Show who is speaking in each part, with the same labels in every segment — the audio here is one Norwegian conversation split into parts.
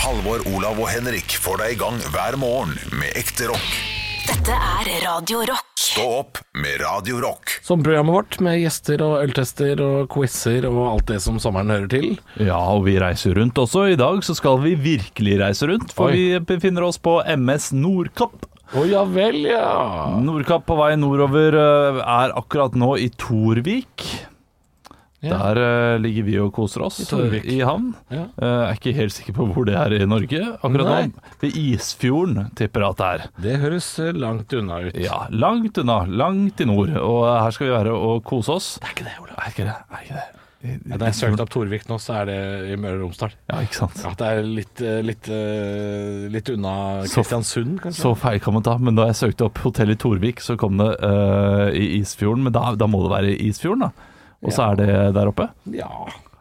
Speaker 1: Halvor, Olav og Henrik får deg i gang hver morgen med ekte rock.
Speaker 2: Dette er Radio Rock.
Speaker 1: Stå opp med Radio Rock.
Speaker 3: Som programmet vårt, med gjester og øltester og quizer og alt det som sommeren hører til.
Speaker 4: Ja, og vi reiser rundt også. I dag så skal vi virkelig reise rundt, for
Speaker 3: Oi.
Speaker 4: vi befinner oss på MS Nordkapp.
Speaker 3: Å ja vel, ja.
Speaker 4: Nordkapp på vei nordover eh, er akkurat nå i Torvik.
Speaker 3: Ja.
Speaker 4: Der eh, ligger vi og koser oss
Speaker 3: I Torvik.
Speaker 4: eh, i havn.
Speaker 3: Ja.
Speaker 4: Eh, er ikke helt sikker på hvor det er i Norge akkurat
Speaker 3: Nei.
Speaker 4: nå. Ved Isfjorden tipper jeg at det er.
Speaker 3: Det høres eh, langt unna ut.
Speaker 4: Ja, langt unna. Langt i nord. Og eh, her skal vi være og kose oss.
Speaker 3: Det er ikke det, Ola.
Speaker 4: Er ikke det? Er ikke det?
Speaker 3: Ja, da jeg søkte opp Torvik nå, så er det i Møre og Romsdal.
Speaker 4: Ja, ikke sant.
Speaker 3: Ja, det er litt, eh, litt, eh, litt unna
Speaker 4: Så-
Speaker 3: Kristiansund, kanskje.
Speaker 4: Så feil kan man ta, men da jeg søkte opp hotell i Torvik, så kom det eh, i Isfjorden. Men da, da må det være i Isfjorden, da. Og så er det der oppe.
Speaker 3: Ja,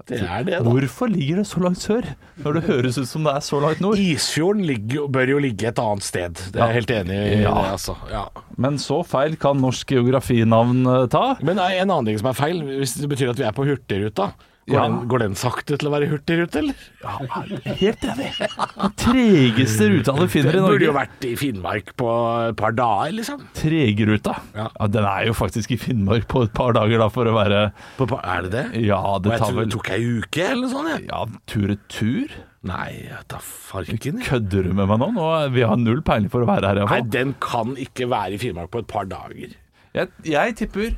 Speaker 3: det er det, da.
Speaker 4: Hvorfor ligger det så langt sør, når det høres ut som det er så langt nord?
Speaker 3: Isfjorden ligger, jo- bør jo ligge et annet sted. Det er jeg
Speaker 4: Ja.
Speaker 3: helt enig i,
Speaker 4: Ja.
Speaker 3: det, altså. Ja.
Speaker 4: Men så feil kan norsk geografinavn eh, ta.
Speaker 3: Men nei, en annen ting som er feil, hvis det betyr at vi er på Hurtigruta. Går,
Speaker 4: Ja.
Speaker 3: den, går den sakte til å være hurtigrute, eller?
Speaker 4: Helt enig. Den tregeste ruta du finner i
Speaker 3: Den burde jo
Speaker 4: Norge.
Speaker 3: vært i Finnmark på et par dager, liksom.
Speaker 4: Tregruta.
Speaker 3: Ja.
Speaker 4: Ja, den er jo faktisk i Finnmark på et par dager, da, for å være
Speaker 3: På, pa- er det det?
Speaker 4: Ja,
Speaker 3: Og
Speaker 4: det
Speaker 3: jeg
Speaker 4: tar
Speaker 3: tror det
Speaker 4: vel
Speaker 3: tok ei uke eller noe sånt, jeg.
Speaker 4: Ja, tur-retur?
Speaker 3: Nei, jeg tar farken. jeg.
Speaker 4: Kødder du med meg nå? nå? Vi har null peiling for å være her,
Speaker 3: Nei,
Speaker 4: iallfall.
Speaker 3: den kan ikke være i Finnmark på et par dager.
Speaker 4: Jeg, jeg tipper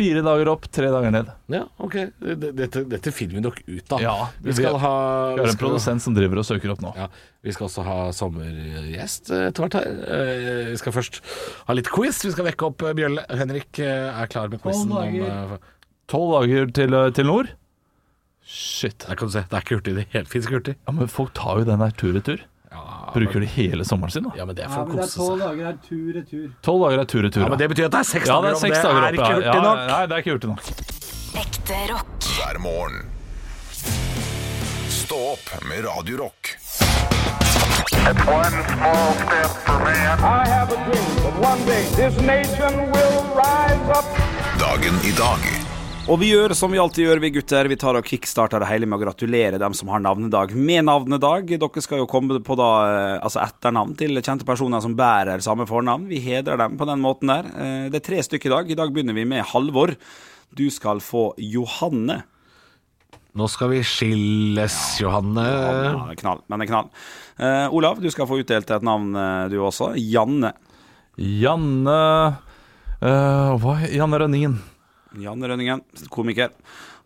Speaker 4: fire dager opp, tre dager ned.
Speaker 3: Ja, ok. D- Dette, dette finner vi nok ut av.
Speaker 4: Ja,
Speaker 3: vi skal ha
Speaker 4: vi- Vi har
Speaker 3: vi
Speaker 4: en
Speaker 3: skal-
Speaker 4: produsent som driver og søker opp nå.
Speaker 3: Ja, vi skal også ha sommergjest eh, etter hvert her. Eh, Vi skal først ha litt quiz. Vi skal vekke opp eh, Bjølle. Henrik eh, er klar med quizen.
Speaker 4: Tolv
Speaker 3: om,
Speaker 4: dager.
Speaker 3: eh,
Speaker 4: Tolv dager til, eh, til nord? Shit.
Speaker 3: Der kan du se, det er ikke hurtig i det hele tatt. Fins ikke hurtig.
Speaker 4: Ja, men folk tar jo den der tur-retur. Bruker de hele sommeren sin, da.
Speaker 3: Ja, men det er
Speaker 5: Ja,
Speaker 3: for
Speaker 5: men
Speaker 3: å
Speaker 5: det er
Speaker 3: kose
Speaker 5: tolv
Speaker 3: seg.
Speaker 5: dager her, tur-retur.
Speaker 4: Tolv dager er tur-retur.
Speaker 3: Ja, men det betyr at det er seks
Speaker 4: ja, det
Speaker 3: dager,
Speaker 4: er
Speaker 3: og
Speaker 4: seks dager opp.
Speaker 3: det er ikke
Speaker 4: ja.
Speaker 3: hurtig nok.
Speaker 4: Ja, nei, det er ikke hurtig nok.
Speaker 2: Ekte rock.
Speaker 1: Hver morgen. Stå opp med Radio Rock.
Speaker 6: One small step for man.
Speaker 7: I have a dream that one day this nation will rise up.
Speaker 1: Dagen i dag.
Speaker 8: Og vi gjør som vi alltid gjør, vi gutter. Vi tar og kickstarter det hele med å gratulere dem som har navnedag med navnedag. Dere skal jo komme på da, eh, altså etternavn til kjente personer som bærer samme fornavn. Vi hedrer dem på den måten der. Eh, Det er tre stykker i dag. I dag begynner vi med Halvor. Du skal få Johanne.
Speaker 3: Nå skal vi skilles, Johanne.
Speaker 8: Ja, det er knall, men det er knall. Eh, Olav, du skal få utdelt et navn, eh, du også. Janne.
Speaker 4: Janne eh, hva? Janne Rønningen.
Speaker 8: Janne Rønningen, komiker.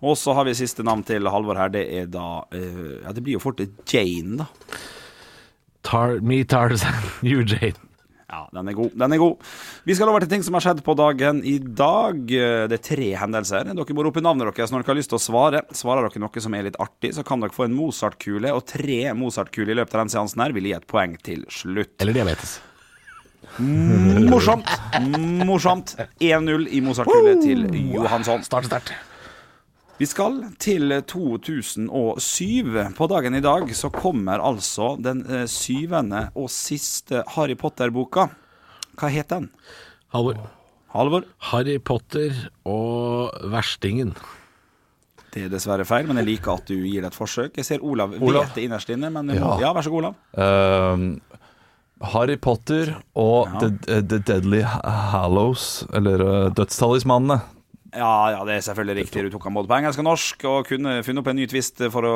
Speaker 8: Og så har vi siste navn til Halvor her. Det er da eh, Ja, det blir jo fort Jane, da.
Speaker 3: Tar, me Tarzan, you Jane.
Speaker 8: Ja, den er god. Den er god. Vi skal over til ting som har skjedd på dagen i dag. Det er tre hendelser. Dere må rope navnet deres når dere har lyst til å svare. Svarer dere noe som er litt artig, så kan dere få en Mozart-kule, og tre Mozart-kuler i løpet av den seansen her vil gi et poeng til slutt.
Speaker 3: Eller diabetes.
Speaker 8: Morsomt! Morsomt. 1-0 i Mozart-kule til Johansson.
Speaker 3: Start sterkt.
Speaker 8: Vi skal til 2007. På dagen i dag så kommer altså den eh, syvende og siste Harry Potter-boka. Hva het den?
Speaker 3: Halvor.
Speaker 8: Halvor?
Speaker 3: Harry Potter og Verstingen.
Speaker 8: Det er dessverre feil, men jeg liker at du gir det et forsøk. Jeg ser Olav,
Speaker 4: Olav.
Speaker 8: vet det innerst inne, men ja.
Speaker 4: Ja.
Speaker 8: vær så god, Olav.
Speaker 4: Ehm, Harry Potter og The, eh, The Deadly Hallows, eller eh, Dødstalismanene.
Speaker 8: Ja, ja, det er selvfølgelig riktig. Du tok han både på engelsk og norsk, og kunne funnet opp en ny twist for å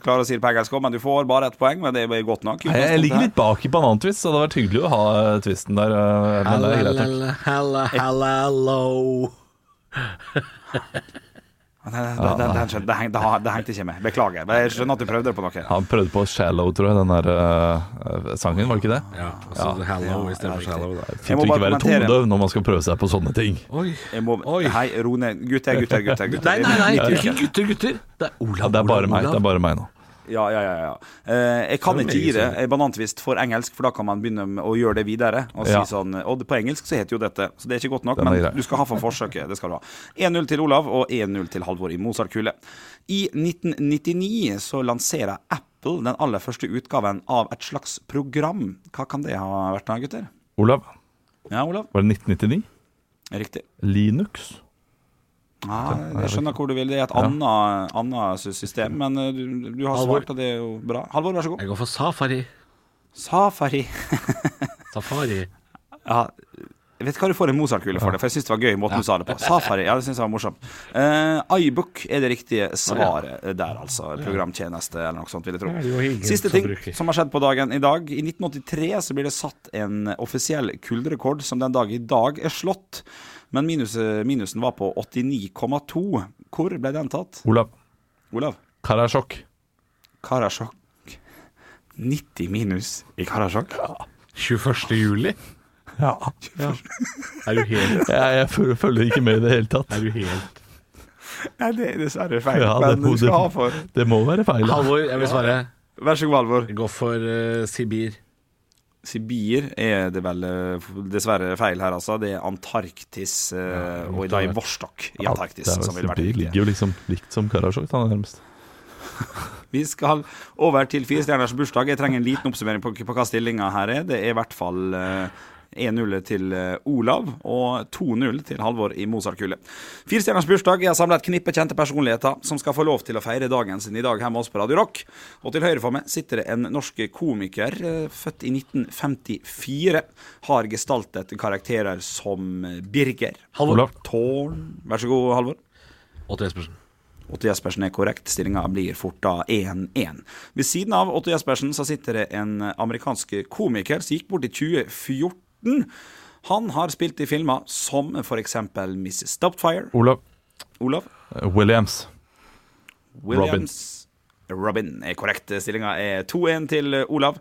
Speaker 8: klare å si det på engelsk òg, men du får bare ett poeng, men det er godt nok.
Speaker 4: Jeg, jeg ligger litt bak i banantvist, så det hadde vært hyggelig å ha eh, twisten der. eh, Men det er greit nok.
Speaker 3: Halla, halla, hallo.
Speaker 8: Nei, nei, nei, Det, det, det, det, heng- det, det hengte ikke med. Beklager. Men jeg skjønner at du prøvde det på noe.
Speaker 4: Han prøvde på 'Shallow', tror jeg, den der eh, sangen, var det ikke det?
Speaker 3: Ja, altså hallo istedenfor shallow. da.
Speaker 4: Fint å
Speaker 8: må
Speaker 4: ikke
Speaker 8: bare
Speaker 4: være
Speaker 8: kommentere.
Speaker 4: tondøv når man skal prøve seg på sånne ting.
Speaker 3: Oi.
Speaker 8: Jeg må,
Speaker 3: Oi.
Speaker 8: hei, ro ned. Gutter, gutter, gutter. gutter.
Speaker 3: Nei, nei, nei,
Speaker 8: Gutter,
Speaker 3: ikke gutter, gutter. Det er Olav.
Speaker 4: Ja, det er bare
Speaker 3: Olav,
Speaker 4: meg, det er
Speaker 3: Olav.
Speaker 4: bare meg nå.
Speaker 8: Ja, ja, ja. ja. Eh, jeg kan
Speaker 3: Det er meget
Speaker 8: ikke gi det eh, banantvist for engelsk, for da kan man begynne med å gjøre det videre. Og si
Speaker 4: Ja.
Speaker 8: sånn, og på engelsk så heter jo dette, så det er ikke godt nok,
Speaker 4: Den er
Speaker 8: men
Speaker 4: grei.
Speaker 8: du skal ha for forsøket. Det skal du ha. 1-0 til Olav og 1-0 til Halvor i Mozart-kule. I 1999 så lanserer Apple den aller første utgaven av et slags program. Hva kan det ha vært da, gutter?
Speaker 4: Olav,
Speaker 8: Ja, Olav?
Speaker 4: var det 1999?
Speaker 8: Riktig.
Speaker 4: Linux?
Speaker 8: Nei, jeg skjønner hvor du vil. Det er et annet, annet system, men eh, du, du har
Speaker 9: Halvor.
Speaker 8: svart, og det er jo bra. Halvor, vær så god.
Speaker 9: Jeg går for safari.
Speaker 8: Safari.
Speaker 9: Safari.
Speaker 8: Ja, jeg vet hva du får en Mozart-kule for det, for jeg syns det var gøy måten du sa det på. Safari, ja, det syns jeg var morsomt. Eh, iBook er det riktige svaret der, altså. Programtjeneste eller noe sånt, vil jeg
Speaker 9: Det er det jo
Speaker 8: tro.
Speaker 9: ingen
Speaker 8: Siste
Speaker 9: som
Speaker 8: ting
Speaker 9: bruker.
Speaker 8: som har skjedd på dagen i dag. I 1983 så blir det satt en offisiell kulderekord som den dag i dag er slått. Men minus, eh, minusen var på 89,2. Hvor ble den tatt?
Speaker 4: Olav.
Speaker 8: Olav?
Speaker 4: Karasjok.
Speaker 8: Karasjok. 90 minus i Karasjok.
Speaker 9: 21. juli?
Speaker 4: Ja.
Speaker 9: Er du helt
Speaker 4: Jeg, jeg føl- følger ikke med i det hele tatt.
Speaker 9: Er du helt
Speaker 8: Nei, det er dessverre feil,
Speaker 4: Ja, det,
Speaker 8: men du skal ha for
Speaker 4: det, det må være feil. da.
Speaker 9: Halvor, jeg vil svare.
Speaker 8: Vær så god, Halvor.
Speaker 9: Jeg går for eh, Sibir.
Speaker 8: Sibir er det vel eh, f- dessverre feil her, altså. Det er Antarktis, eh, og da i Vostok i Antarktis,
Speaker 4: Det er jo-
Speaker 8: som ville vært
Speaker 4: det
Speaker 8: riktig.
Speaker 4: ligger jo liksom likt som Karasjok, da, nærmest.
Speaker 8: Vi skal over til fire stjerners bursdag. Jeg trenger en liten oppsummering på, på hva stillinga her er. Det er i hvert fall eh, 1-0 til eh, Olav og 2-0 til Halvor i Mozart-kule. Fire stjerners bursdag Jeg har samla et knippe kjente personligheter som skal få lov til å feire dagen sin i dag hjemme hos oss på Radio Rock. Og til høyre for meg sitter det en norsk komiker, eh, født i 1954. Har gestaltet karakterer som eh, Birger,
Speaker 9: Halvor.
Speaker 4: Olav.
Speaker 8: Tårn Vær så god, Halvor.
Speaker 9: Otto Jespersen.
Speaker 8: Otto Jespersen er korrekt. Stillinga blir fort da 1-1. Ved siden av Otto Jespersen så sitter det en amerikansk komiker som gikk bort i 2014. Han har spilt i filmer som f.eks. Mrs. Doubtfire,
Speaker 4: Olav.
Speaker 8: Olav
Speaker 4: eh, Williams.
Speaker 8: Williams Robin er korrekt. Stillinga er 2-1 til Olav.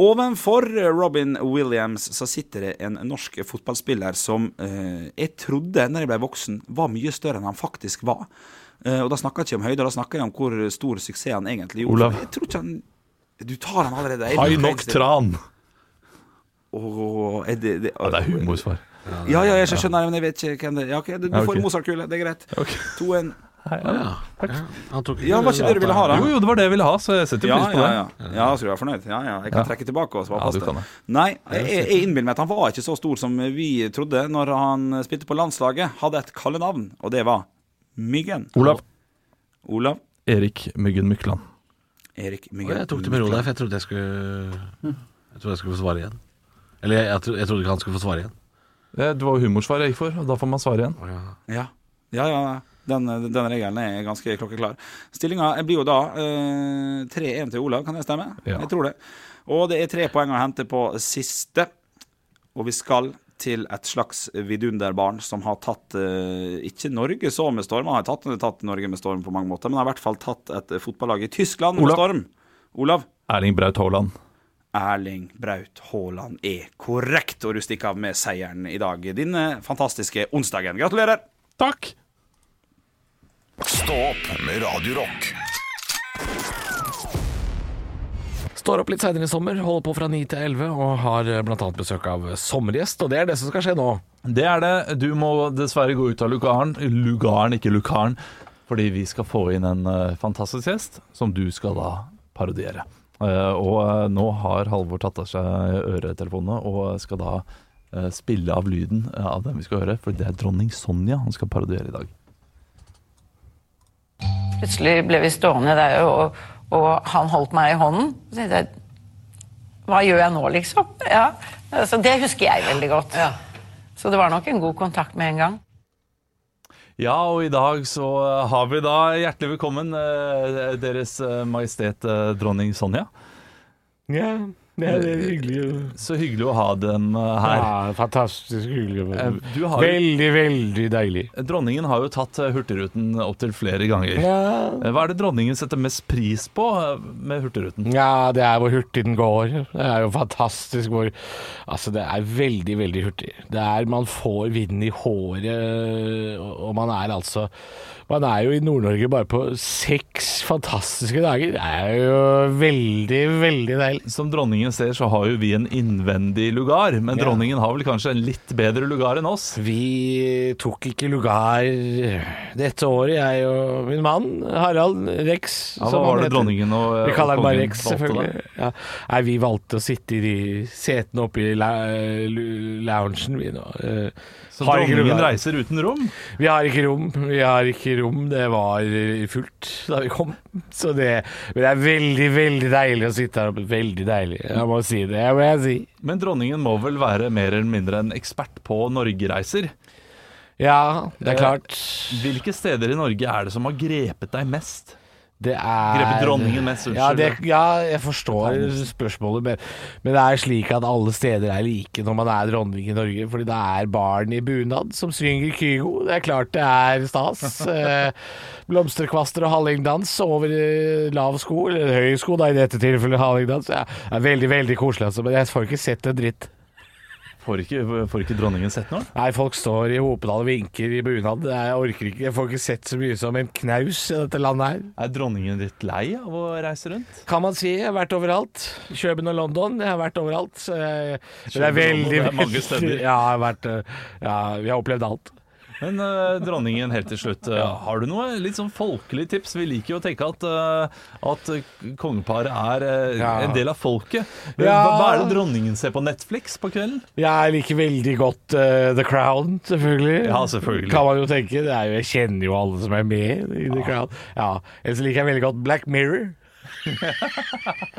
Speaker 8: Ovenfor Robin Williams så sitter det en norsk fotballspiller som eh, jeg trodde når jeg ble voksen, var mye større enn han faktisk var. Eh, og da snakker jeg ikke om høyde, da snakker jeg om hvor stor suksess han egentlig gjorde.
Speaker 4: Olav.
Speaker 8: Jeg tror ikke han Du tar han allerede. Jeg-
Speaker 4: Hai nok tran!
Speaker 8: Åh, er det, det,
Speaker 4: Ja, det er humorsvar.
Speaker 8: Ja, ja, jeg skjønner, men jeg vet ikke hvem det er. Ja, ok, du, du
Speaker 4: Ja,
Speaker 8: får
Speaker 4: ok.
Speaker 8: en Mozart-kule, det er greit. 2-1.
Speaker 9: Ja. ja. Han tok
Speaker 8: Ja, var ikke det du ville ha, da?
Speaker 4: Jo, jo, det var det jeg ville ha, så jeg setter
Speaker 8: Ja,
Speaker 4: pris på det.
Speaker 8: ja, ja. ja, så du er fornøyd? Ja, ja. Jeg kan
Speaker 4: Ja.
Speaker 8: trekke tilbake og svare
Speaker 4: Ja,
Speaker 8: fast
Speaker 4: du
Speaker 8: det.
Speaker 4: kan det.
Speaker 8: Nei, jeg, jeg innbiller meg at han var ikke så stor som vi trodde når han spilte på landslaget. Hadde et kallenavn, og det var Myggen.
Speaker 4: Olav.
Speaker 8: Olav
Speaker 4: Erik Myggen Mykland.
Speaker 8: Erik
Speaker 9: Å,
Speaker 8: Myggen.
Speaker 9: Jeg tok det med ro der, for jeg trodde jeg skulle Jeg trodde jeg skulle få svare igjen. Eller jeg, jeg, tro- jeg trodde ikke han skulle få svare igjen.
Speaker 4: Eh, Det det var jo humorsvar jeg gikk for, og da får man svare igjen.
Speaker 8: Ja, ja, ja. ja. Den, den regelen er ganske klokkeklar. Stillinga blir jo da eh, 3-1 til Olav, kan det stemme?
Speaker 4: Ja.
Speaker 8: Jeg tror det. Og det er tre poeng å hente på siste. Og vi skal til et slags vidunderbarn som har tatt eh, ikke Norge så med storm, han har tatt, tatt Norge med storm på mange måter, men har i hvert fall tatt et fotballag i Tyskland
Speaker 4: Olav.
Speaker 8: med storm. Olav
Speaker 4: Erling Braut Haaland.
Speaker 8: Erling Braut Haaland er korrekt, og du stikker av med seieren i dag. Din eh, fantastiske onsdagen. Gratulerer!
Speaker 4: Takk!
Speaker 1: Stå opp med Radio Rock.
Speaker 9: Står opp litt seinere i sommer, holder på fra 9 til 11 og har bl.a. besøk av eh, sommergjest. Og det er det som skal skje nå.
Speaker 4: Det er det. Du må dessverre gå ut av lugaren. Lugaren, ikke lukaren. Fordi vi skal få inn en eh, fantastisk gjest som du skal da parodiere. Eh, og eh, nå har Halvor tatt av seg øretelefonene og skal da eh, spille av lyden eh, av den vi skal høre. For det er dronning Sonja han skal parodiere i dag.
Speaker 10: Plutselig ble vi stående der, og, og han holdt meg i hånden. Så tenkte jeg Hva gjør jeg nå, liksom? Ja. Så det husker jeg veldig godt. Så det var nok en god kontakt med en gang.
Speaker 4: Ja, og i dag så eh, har vi da hjertelig velkommen eh, Deres eh, Majestet eh, dronning Sonja. Eh,
Speaker 3: Ja, ja, det er hyggelig.
Speaker 4: Så hyggelig å ha Dem eh, her.
Speaker 3: Ja, Ah, fantastisk hyggelig.
Speaker 4: Eh, du har jo-
Speaker 3: Veldig, veldig deilig.
Speaker 4: Dronningen har jo tatt eh, Hurtigruten opptil flere ganger.
Speaker 3: Ja.
Speaker 4: Eh, Hva er det dronningen setter mest pris på eh, med Hurtigruten?
Speaker 3: ja, det er hvor hurtig den går. Det er jo fantastisk hvor Altså, det er veldig, øh, veldig hurtig. Det er Man får vinden i håret, og og man er altså Man er jo i Nord-Norge bare på seks fantastiske dager. Det er jo veldig, veldig deilig.
Speaker 4: Som dronningen ser, så har jo vi en innvendig lugar, men
Speaker 3: Ja.
Speaker 4: dronningen har vel kanskje en litt bedre lugar enn oss.
Speaker 3: Vi tok ikke lugar dette året, jeg og min mann Harald Rex.
Speaker 4: Ja, hva
Speaker 3: som
Speaker 4: var
Speaker 3: han
Speaker 4: det
Speaker 3: heter.
Speaker 4: dronningen og-
Speaker 3: Vi kaller
Speaker 4: og
Speaker 3: han bare
Speaker 4: kongen
Speaker 3: Rex,
Speaker 4: valgte
Speaker 3: selvfølgelig. Ja. Nei, vi valgte å sitte i de setene oppe i la lu- loungen, vi nå. Eh,
Speaker 4: Så
Speaker 3: har ikke
Speaker 4: dronningen
Speaker 3: lugar.
Speaker 4: reiser uten rom.
Speaker 3: Vi har ikke rom, vi har ikke rom. Det var eh, fullt da vi kom. Så det, men det er veldig, veldig deilig å sitte her oppe. Veldig deilig. Jeg må si det. Jeg må jeg si.
Speaker 4: Men dronningen må vel være mer eller mindre en ekspert på Norgereiser.
Speaker 3: Ja, det er
Speaker 4: Eh,
Speaker 3: klart.
Speaker 4: Hvilke steder i Norge er det som har grepet deg mest?
Speaker 3: Det er
Speaker 4: Grepet dronningen mest, unnskyld.
Speaker 3: Ja, det, ja, jeg forstår spørsmålet, men, men det er slik at alle steder er like når man er dronning i Norge. Fordi det er barn i bunad som synger Kygo. Det er klart det er stas. Eh, Blomsterkvaster og hallingdans over eh, lav sko, eller høy sko da, i dette tilfellet hallingdans. Ja, det er veldig, veldig koselig, altså, men jeg får ikke sett en dritt.
Speaker 4: Får ikke, får ikke dronningen sett noe?
Speaker 3: Nei, folk står i Hopedal og vinker i bunad. Jeg orker ikke, jeg får ikke sett så mye som en knaus i dette landet her.
Speaker 4: Er dronningen litt lei av å reise rundt?
Speaker 3: kan man si. Jeg har vært overalt. Kjøben og London, jeg har vært overalt. Så jeg, men det er
Speaker 4: Kjøben og London,
Speaker 3: veldig,
Speaker 4: det er mange
Speaker 3: veldig-
Speaker 4: steder.
Speaker 3: Ja, jeg har vært, eh, ja, vi har opplevd alt.
Speaker 4: Men eh, dronningen, helt til slutt, eh, har du noe litt sånn folkelig tips? Vi liker jo å tenke at, eh, at kongeparet er eh,
Speaker 3: Ja.
Speaker 4: en del av folket. Eh, Hva, hva
Speaker 3: Ja.
Speaker 4: er det dronningen ser på Netflix på kvelden?
Speaker 3: Jeg liker veldig godt eh, The Crown, selvfølgelig.
Speaker 4: Ja, selvfølgelig.
Speaker 3: Kan man jo tenke. Det er jo, jeg kjenner jo alle som er med i The Crown. Ja. Ellers liker jeg veldig godt Black Mirror.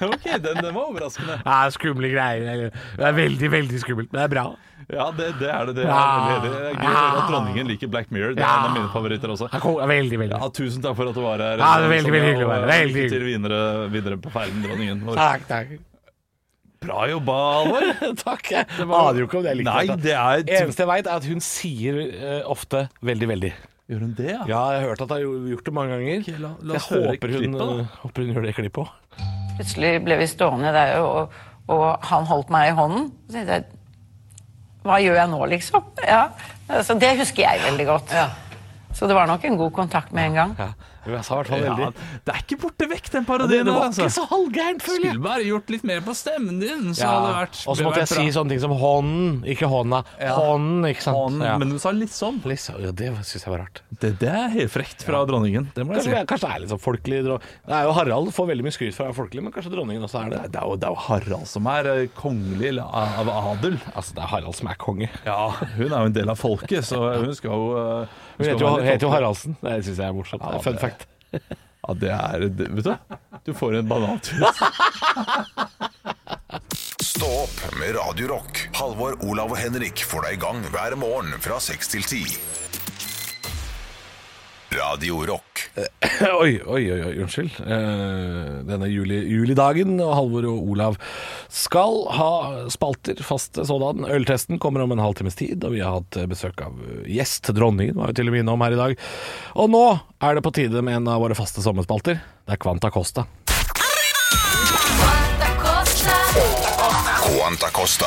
Speaker 4: Ok, den, den var overraskende.
Speaker 3: Det er skumle greier. Det er veldig, veldig skummelt, men det er bra.
Speaker 4: Ja, det, det er det. Det er,
Speaker 3: Ja.
Speaker 4: veldig- det er gøy å høre at dronningen liker Black Mirror. Det er
Speaker 3: Ja.
Speaker 4: en av mine favoritter også.
Speaker 3: Det er ko- Veldig, veldig.
Speaker 4: Ja, Tusen takk for at du var her.
Speaker 3: Ja, det er veldig, veldig hyggelig å være her.
Speaker 4: Og, eh,
Speaker 3: Veldig
Speaker 4: Lykke til videre, videre på ferden, dronningen. vår.
Speaker 3: Takk, takk.
Speaker 4: Bra jobba, Alvor.
Speaker 3: takk. Jeg aner jo ikke om det er likt. altså.
Speaker 4: Nei, det er
Speaker 3: Eneste jeg veit, er at hun sier eh, ofte 'veldig, veldig'.
Speaker 4: Gjør hun det, ja?
Speaker 3: Ja, jeg har hørt at hun har jo- gjort det mange ganger.
Speaker 4: Ok, la- la
Speaker 3: jeg
Speaker 4: oss høre
Speaker 3: håper hun,
Speaker 4: klippet, da.
Speaker 3: eh, håper hun gjør det klippet òg.
Speaker 10: Plutselig ble vi stående der, og, og han holdt meg i hånden. Så tenkte jeg, hva gjør jeg nå, liksom? Ja. Så det husker jeg veldig godt. Så det var nok en god kontakt med en gang.
Speaker 3: Ja. Jeg sa i hvert fall
Speaker 4: Ja,
Speaker 3: veldig.
Speaker 4: det er ikke borte vekk, den
Speaker 3: det,
Speaker 4: parodien.
Speaker 3: det
Speaker 4: der,
Speaker 3: var
Speaker 4: altså.
Speaker 3: ikke så halvgærent, føler jeg.
Speaker 4: Skulle bare gjort litt mer på stemmen din, så hadde
Speaker 3: Ja.
Speaker 4: det vært
Speaker 3: Og så måtte jeg si sånne ting som hånden, ikke hånda. Hånden, ikke sant.
Speaker 4: sånn
Speaker 3: ja.
Speaker 4: Men du sa litt sånn.
Speaker 3: Liksom, ja, det syns jeg var rart.
Speaker 4: Det, det er helt frekt fra dronningen. Det må jeg si.
Speaker 3: Kanskje, kanskje det er litt sånn folkelig dro- Det er jo Harald får veldig mye skryt for å være folkelig, men kanskje dronningen også er det.
Speaker 4: Det er, jo, det er jo Harald som er eh, kongelig eller a- av adel.
Speaker 3: Altså, det er Harald som er konge.
Speaker 4: Ja, Hun er jo en del av folket, så hun skal jo eh,
Speaker 3: Hun
Speaker 4: skal
Speaker 3: heter jo,
Speaker 4: være litt
Speaker 3: heter jo
Speaker 4: folkelig.
Speaker 3: Haraldsen. Det syns jeg er morsomt.
Speaker 4: Ja,
Speaker 3: Fun
Speaker 4: det-
Speaker 3: fact.
Speaker 4: Ja, det er det- Vet du, du får en banantur.
Speaker 1: Stå opp med Radio Rock. Halvor, Olav og Henrik får deg i gang hver morgen fra 6 til 10. Radio Rock.
Speaker 3: Oi, oi, oi, oi unnskyld. Eh, denne juli, julidagen, og Halvor og Olav skal ha spalter, faste sådan. Øltesten kommer om en halvtimes tid, og vi har hatt besøk av gjest. Dronningen var jo til og med innom her i dag. Og nå er det på tide med en av våre faste sommerspalter. Det er Kvanta Costa.
Speaker 1: Quanta Costa.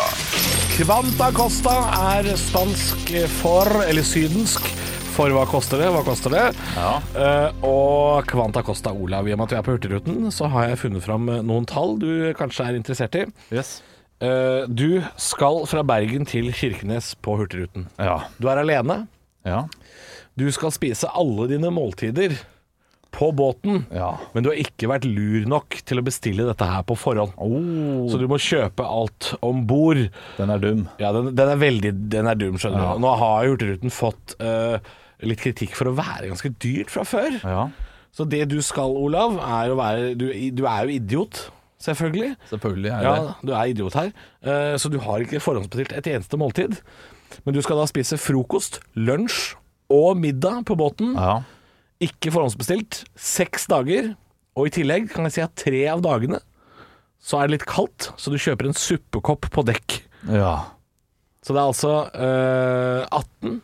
Speaker 3: Kvanta Costa er spansk for, eller sydensk, for hva koster det, hva koster det? Eh, og Kvanta Costa, Olav, i og med at vi er på Hurtigruten, så har jeg funnet fram eh, noen tall du kanskje er interessert i.
Speaker 4: Yes.
Speaker 3: Eh, du skal fra Bergen til Kirkenes på Hurtigruten.
Speaker 4: Ja.
Speaker 3: Du er alene.
Speaker 4: Ja.
Speaker 3: Du skal spise alle dine måltider på båten,
Speaker 4: Ja.
Speaker 3: men du har ikke vært lur nok til å bestille dette her på forhånd. Så du må kjøpe alt om bord.
Speaker 4: Den er dum.
Speaker 3: Ja, den, den er veldig Den er dum, skjønner du. Nå har Hurtigruten fått eh, litt kritikk for å være ganske dyrt fra før.
Speaker 4: Ja,
Speaker 3: Så det du skal, Olav, er å være Du, du er jo idiot, selvfølgelig.
Speaker 4: selvfølgelig er
Speaker 3: Ja,
Speaker 4: det
Speaker 3: du er idiot her. Eh, så du har ikke forhåndsbestilt et eneste måltid. Men du skal da spise frokost, lunsj og middag på båten.
Speaker 4: Ja.
Speaker 3: Ikke forhåndsbestilt. Seks dager. Og i tillegg kan jeg si at tre av dagene så er det litt kaldt, så du kjøper en suppekopp på dekk.
Speaker 4: ja.
Speaker 3: Så det er altså eh, 18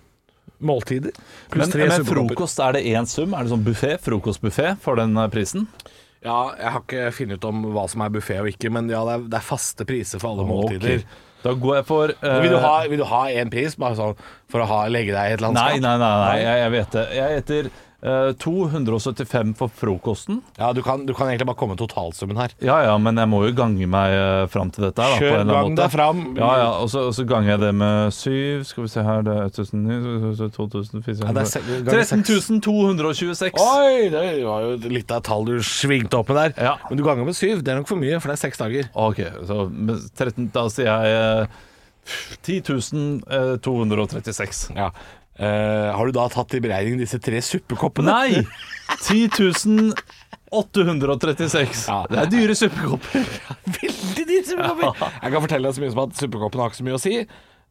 Speaker 3: måltider pluss
Speaker 4: Men,
Speaker 3: tre
Speaker 4: men
Speaker 3: suppekopper.
Speaker 4: frokost, er det én sum? Er det sånn buffé? Frokostbuffé for den eh, prisen?
Speaker 3: Ja, jeg har ikke funnet ut om hva som er buffé og ikke, men ja, det er, det er faste priser for alle
Speaker 4: Ok.
Speaker 3: måltider.
Speaker 4: Da går jeg for eh,
Speaker 3: Vil du ha, vil du ha en pris bare sånn, for å ha, legge deg i et landskap?
Speaker 4: Nei, nei, nei, nei jeg, jeg vet det. Jeg heter eh, 275 for frokosten.
Speaker 3: Ja, du kan, du kan egentlig bare komme med totalsummen her.
Speaker 4: Ja ja, men jeg må jo gange meg eh, fram til dette. her, Da,
Speaker 3: Kjør,
Speaker 4: på en eller annen
Speaker 3: gang
Speaker 4: måte.
Speaker 3: deg fram.
Speaker 4: Ja, ja, og så, og så ganger jeg det med syv. Skal vi se her, det er 1009
Speaker 3: Ja, det er se- ganger
Speaker 4: 13226.
Speaker 3: Oi, det var jo litt av et tall du svingte opp med der.
Speaker 4: Ja.
Speaker 3: Men du ganger med syv. Det er nok for mye, for det er seks dager.
Speaker 4: Ok, så men 13, da sier jeg eh, 10.236.
Speaker 3: Ja. Eh, har du da tatt i beregning disse tre suppekoppene?
Speaker 4: Nei! 10.836.
Speaker 3: Ja.
Speaker 4: Det er dyre suppekopper.
Speaker 3: Veldig dyre suppekopper! Jeg kan fortelle deg så mye som at suppekoppene har ikke så mye å si.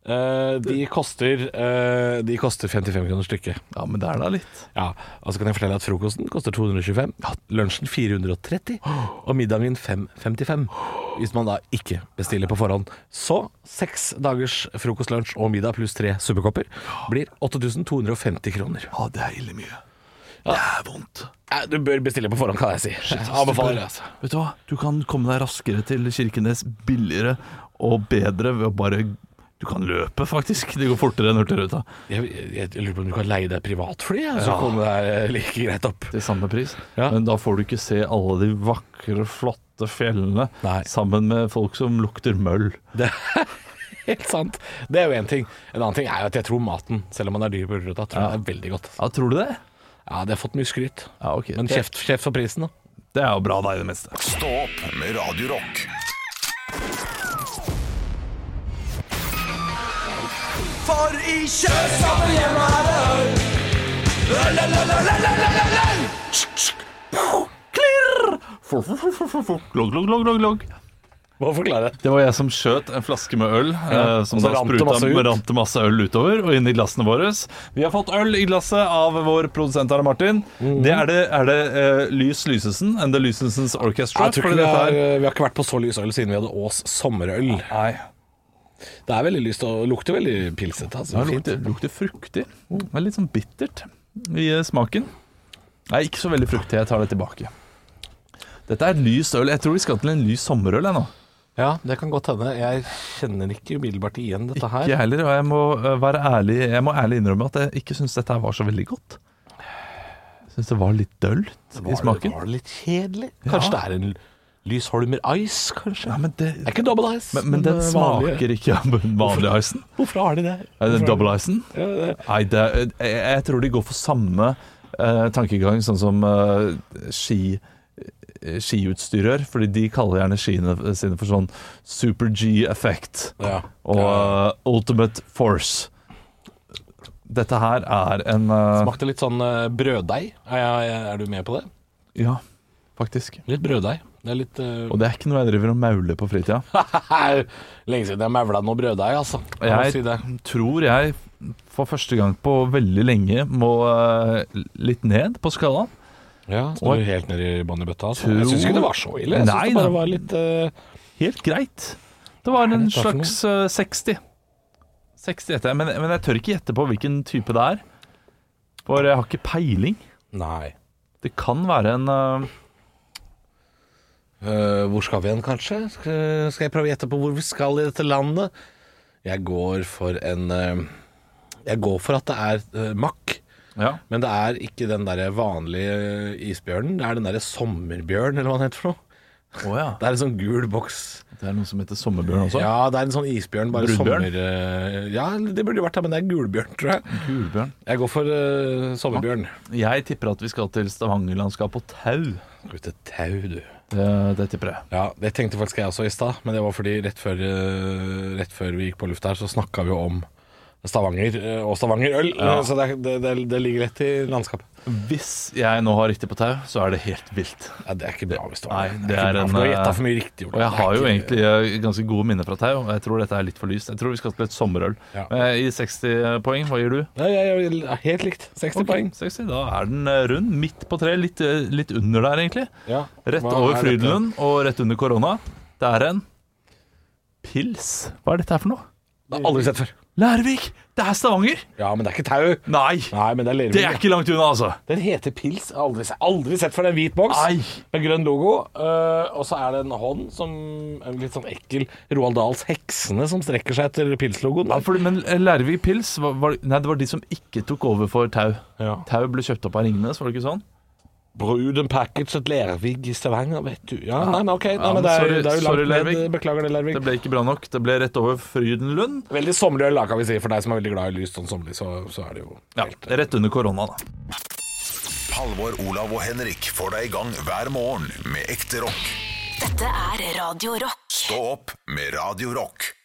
Speaker 3: Eh, de, koster, eh, de koster 55 kroner stykket.
Speaker 4: Ja, men det er da litt.
Speaker 3: Ja, og så kan jeg fortelle at frokosten koster 225, lunsjen 430 og middagen 555. Hvis man da ikke bestiller på forhånd. Så seks dagers frokost, lunsj og middag pluss tre suppekopper blir 8250 kroner.
Speaker 4: Ja, det er ille mye. Det er vondt.
Speaker 3: Eh, Du bør bestille på forhånd, kan jeg si. Jeg Anbefaler det. altså.
Speaker 4: Vet du hva? Du kan komme deg raskere til Kirkenes billigere og bedre ved å bare Du kan løpe, faktisk. Det går fortere enn Hurtigruta.
Speaker 3: Jeg, jeg, jeg lurer på om du kan leie deg privatfly, jeg, så kommer det her, eh, like greit opp.
Speaker 4: Til samme pris.
Speaker 3: Ja.
Speaker 4: Men da får du ikke se alle de vakre, flotte fjellene
Speaker 3: Nei.
Speaker 4: sammen med folk som lukter møll.
Speaker 3: Det er helt sant. Det er jo én ting. En annen ting er jo at jeg tror maten, selv om man er dyr på Hurtigruten, tror jeg det er veldig godt.
Speaker 4: Ja, tror du det?
Speaker 3: Ja, de har fått mye skryt.
Speaker 4: Ja, ok.
Speaker 3: Men kjeft, kjeft for prisen, da.
Speaker 4: Det er jo bra, da, i det meste.
Speaker 1: Stå opp med Radio Rock.
Speaker 4: Logg, logg, logg, logg, logg.
Speaker 3: Må forklare.
Speaker 4: Det var jeg som skjøt en flaske med øl, eh, som
Speaker 3: og så
Speaker 4: da
Speaker 3: rant det
Speaker 4: spruta
Speaker 3: masse ut.
Speaker 4: rant det masse øl utover og inn i glassene våre. Vi har fått øl i glasset av vår produsent Arne Martin. Det er det, er det eh, Lys Lysesen and The Lysesens Orchestra.
Speaker 3: Jeg tror ikke
Speaker 4: fordi
Speaker 3: vi,
Speaker 4: dette
Speaker 3: har,
Speaker 4: er-
Speaker 3: vi har ikke vært på så lys øl siden vi hadde Ås sommerøl.
Speaker 4: Nei,
Speaker 3: Det er veldig lyst og lukter veldig pilsete. Altså.
Speaker 4: det lukter, lukter fruktig. Det er litt sånn bittert i eh, smaken. Nei, ikke så veldig fruktig. Jeg tar det tilbake. Dette er et lys øl. Jeg tror vi skal til en lys sommerøl jeg, nå.
Speaker 3: Ja, det kan godt hende. Jeg kjenner ikke umiddelbart igjen dette her.
Speaker 4: Ikke jeg heller, og jeg må øh, være ærlig Jeg må ærlig innrømme at jeg ikke syns dette her var så veldig godt. Jeg syns det var litt dølt i smaken.
Speaker 3: Var det litt kjedelig? Kanskje det er en Lysholmer Ice, kanskje?
Speaker 4: Ja, men, det,
Speaker 3: det er ikke double ice.
Speaker 4: men, men den
Speaker 3: eh, vanlig.
Speaker 4: smaker ikke av den vanlige icen.
Speaker 3: Hvorfor har de det?
Speaker 4: Er det double icen?
Speaker 3: Ja, det-
Speaker 4: Nei, det, er- jeg, jeg tror de går for samme eh, tankegang sånn som eh, ski eh, skiutstyrere, fordi de kaller gjerne skiene sine for sånn Super G-effekt
Speaker 3: Ja.
Speaker 4: og eh, Ultimate Force. Dette her er en eh,
Speaker 3: Smakte litt sånn eh, brøddeig. Er, jeg- er du med på det?
Speaker 4: Ja, faktisk.
Speaker 3: Litt brøddeig. Det er litt eh,
Speaker 4: Og det er ikke noe jeg driver og mauler på fritida.
Speaker 3: Lenge siden jeg maula noe brøddeig, altså. Jeg må si det.
Speaker 4: Jeg tror jeg for første gang på veldig lenge må eh, litt ned på skalaen.
Speaker 3: Ja,
Speaker 4: Og-
Speaker 3: står helt ned i bånn i bøtta. Altså.
Speaker 4: Tror-
Speaker 3: Jeg syns ikke det var så ille. Jeg
Speaker 4: Nei,
Speaker 3: syns det
Speaker 4: da.
Speaker 3: bare var litt eh,
Speaker 4: Helt greit. Det var en
Speaker 3: det dette for noe?
Speaker 4: slags eh, 60. 60 heter jeg, men, men jeg tør ikke gjette på hvilken type det er. For jeg har ikke peiling.
Speaker 3: Nei.
Speaker 4: Det kan være en eh,
Speaker 3: Eh, hvor skal vi hen, kanskje? Skal skal jeg prøve å gjette på hvor vi skal i dette landet? Jeg går for en eh, Jeg går for at det er eh, makk.
Speaker 4: Ja.
Speaker 3: Men det er ikke den derre vanlige eh, isbjørnen. Det er den derre sommerbjørn, eller hva den heter for noe.
Speaker 4: Å ja.
Speaker 3: Det er en sånn gul boks.
Speaker 4: Det er noe som heter sommerbjørn også.
Speaker 3: Ja, det er en sånn isbjørn, bare
Speaker 4: Brudbjørn?
Speaker 3: sommer... eh, ja, det burde jo vært det, men det er gulbjørn, tror jeg.
Speaker 4: Gulbjørn.
Speaker 3: Jeg går for eh, sommerbjørn.
Speaker 4: Jeg tipper at vi skal til Stavangerlandskapet og Tau.
Speaker 3: Skal ut et tau, du.
Speaker 4: Det, det tipper jeg.
Speaker 3: Ja, det tenkte faktisk jeg også i stad, men det var fordi rett før, eh, rett før vi gikk på luft her, så snakka vi jo om Stavanger eh, og Stavangerøl, eh, så det, det, det, det ligger rett i landskapet.
Speaker 4: Hvis jeg nå har riktig på tau, så er det helt vilt.
Speaker 3: Ja, det er ikke bra hvis det
Speaker 4: Nei,
Speaker 3: var
Speaker 4: det er en,
Speaker 3: Du har
Speaker 4: eh,
Speaker 3: gjetta for mye riktig. Ole.
Speaker 4: Og jeg
Speaker 3: Det er
Speaker 4: har jo
Speaker 3: ikke-
Speaker 4: egentlig eh, ganske gode minner fra tau, og jeg tror dette er litt for lyst. Jeg tror vi skal til et sommerøl.
Speaker 3: Ja.
Speaker 4: Eh, I 60 poeng, hva gir du?
Speaker 3: Nei, jeg, jeg, jeg, Helt likt. 60
Speaker 4: Ok,
Speaker 3: poeng.
Speaker 4: 60, da er den eh, rund, midt på treet, litt, eh, litt under der egentlig.
Speaker 3: Ja.
Speaker 4: Rett
Speaker 3: Hva
Speaker 4: over
Speaker 3: er dette?
Speaker 4: Frydenlund og rett under korona. Det er en pils. Hva er dette her for noe?
Speaker 3: Det har jeg aldri sett før.
Speaker 4: Lærvik! Det er Stavanger!
Speaker 3: Ja, men det er ikke tau.
Speaker 4: Nei!
Speaker 3: Nei, men det er
Speaker 4: Det er
Speaker 3: lervin.
Speaker 4: ikke langt unna, altså.
Speaker 3: Den heter pils. Jeg har aldri, se- aldri sett for den hvit boks
Speaker 4: Nei.
Speaker 3: med grønn logo. eh, og så er det en hånd som en litt sånn ekkel Roald Dahls Heksene som strekker seg etter pilslogoen.
Speaker 4: Ja, fordi, men eh, Lærvik Pils var, var, Nei, det var de som ikke tok over for Tau.
Speaker 3: Ja.
Speaker 4: Tau ble kjøpt opp av Ringnes, var det ikke sånn?
Speaker 3: Bruden package et Lervig i Stavanger, vet du. Ja, nei, men ok. Nei,
Speaker 4: Ja, men
Speaker 3: men det er,
Speaker 4: sorry-
Speaker 3: det er jo langt
Speaker 4: sorry,
Speaker 3: ned.
Speaker 4: Lervig.
Speaker 3: Beklager det, Lervig.
Speaker 4: Det ble ikke bra nok. Det ble rett over Frydenlund.
Speaker 3: Veldig sommerlig øl, da, kan vi si. For deg som er veldig glad i lyst sånn sommerlig, så, så er det jo
Speaker 4: Ja,
Speaker 3: helt
Speaker 4: rett under korona, da.
Speaker 1: Halvor, Olav og Henrik får deg i gang hver morgen med ekte rock.
Speaker 2: Dette er Radio Rock.
Speaker 1: Stå opp med Radio Rock.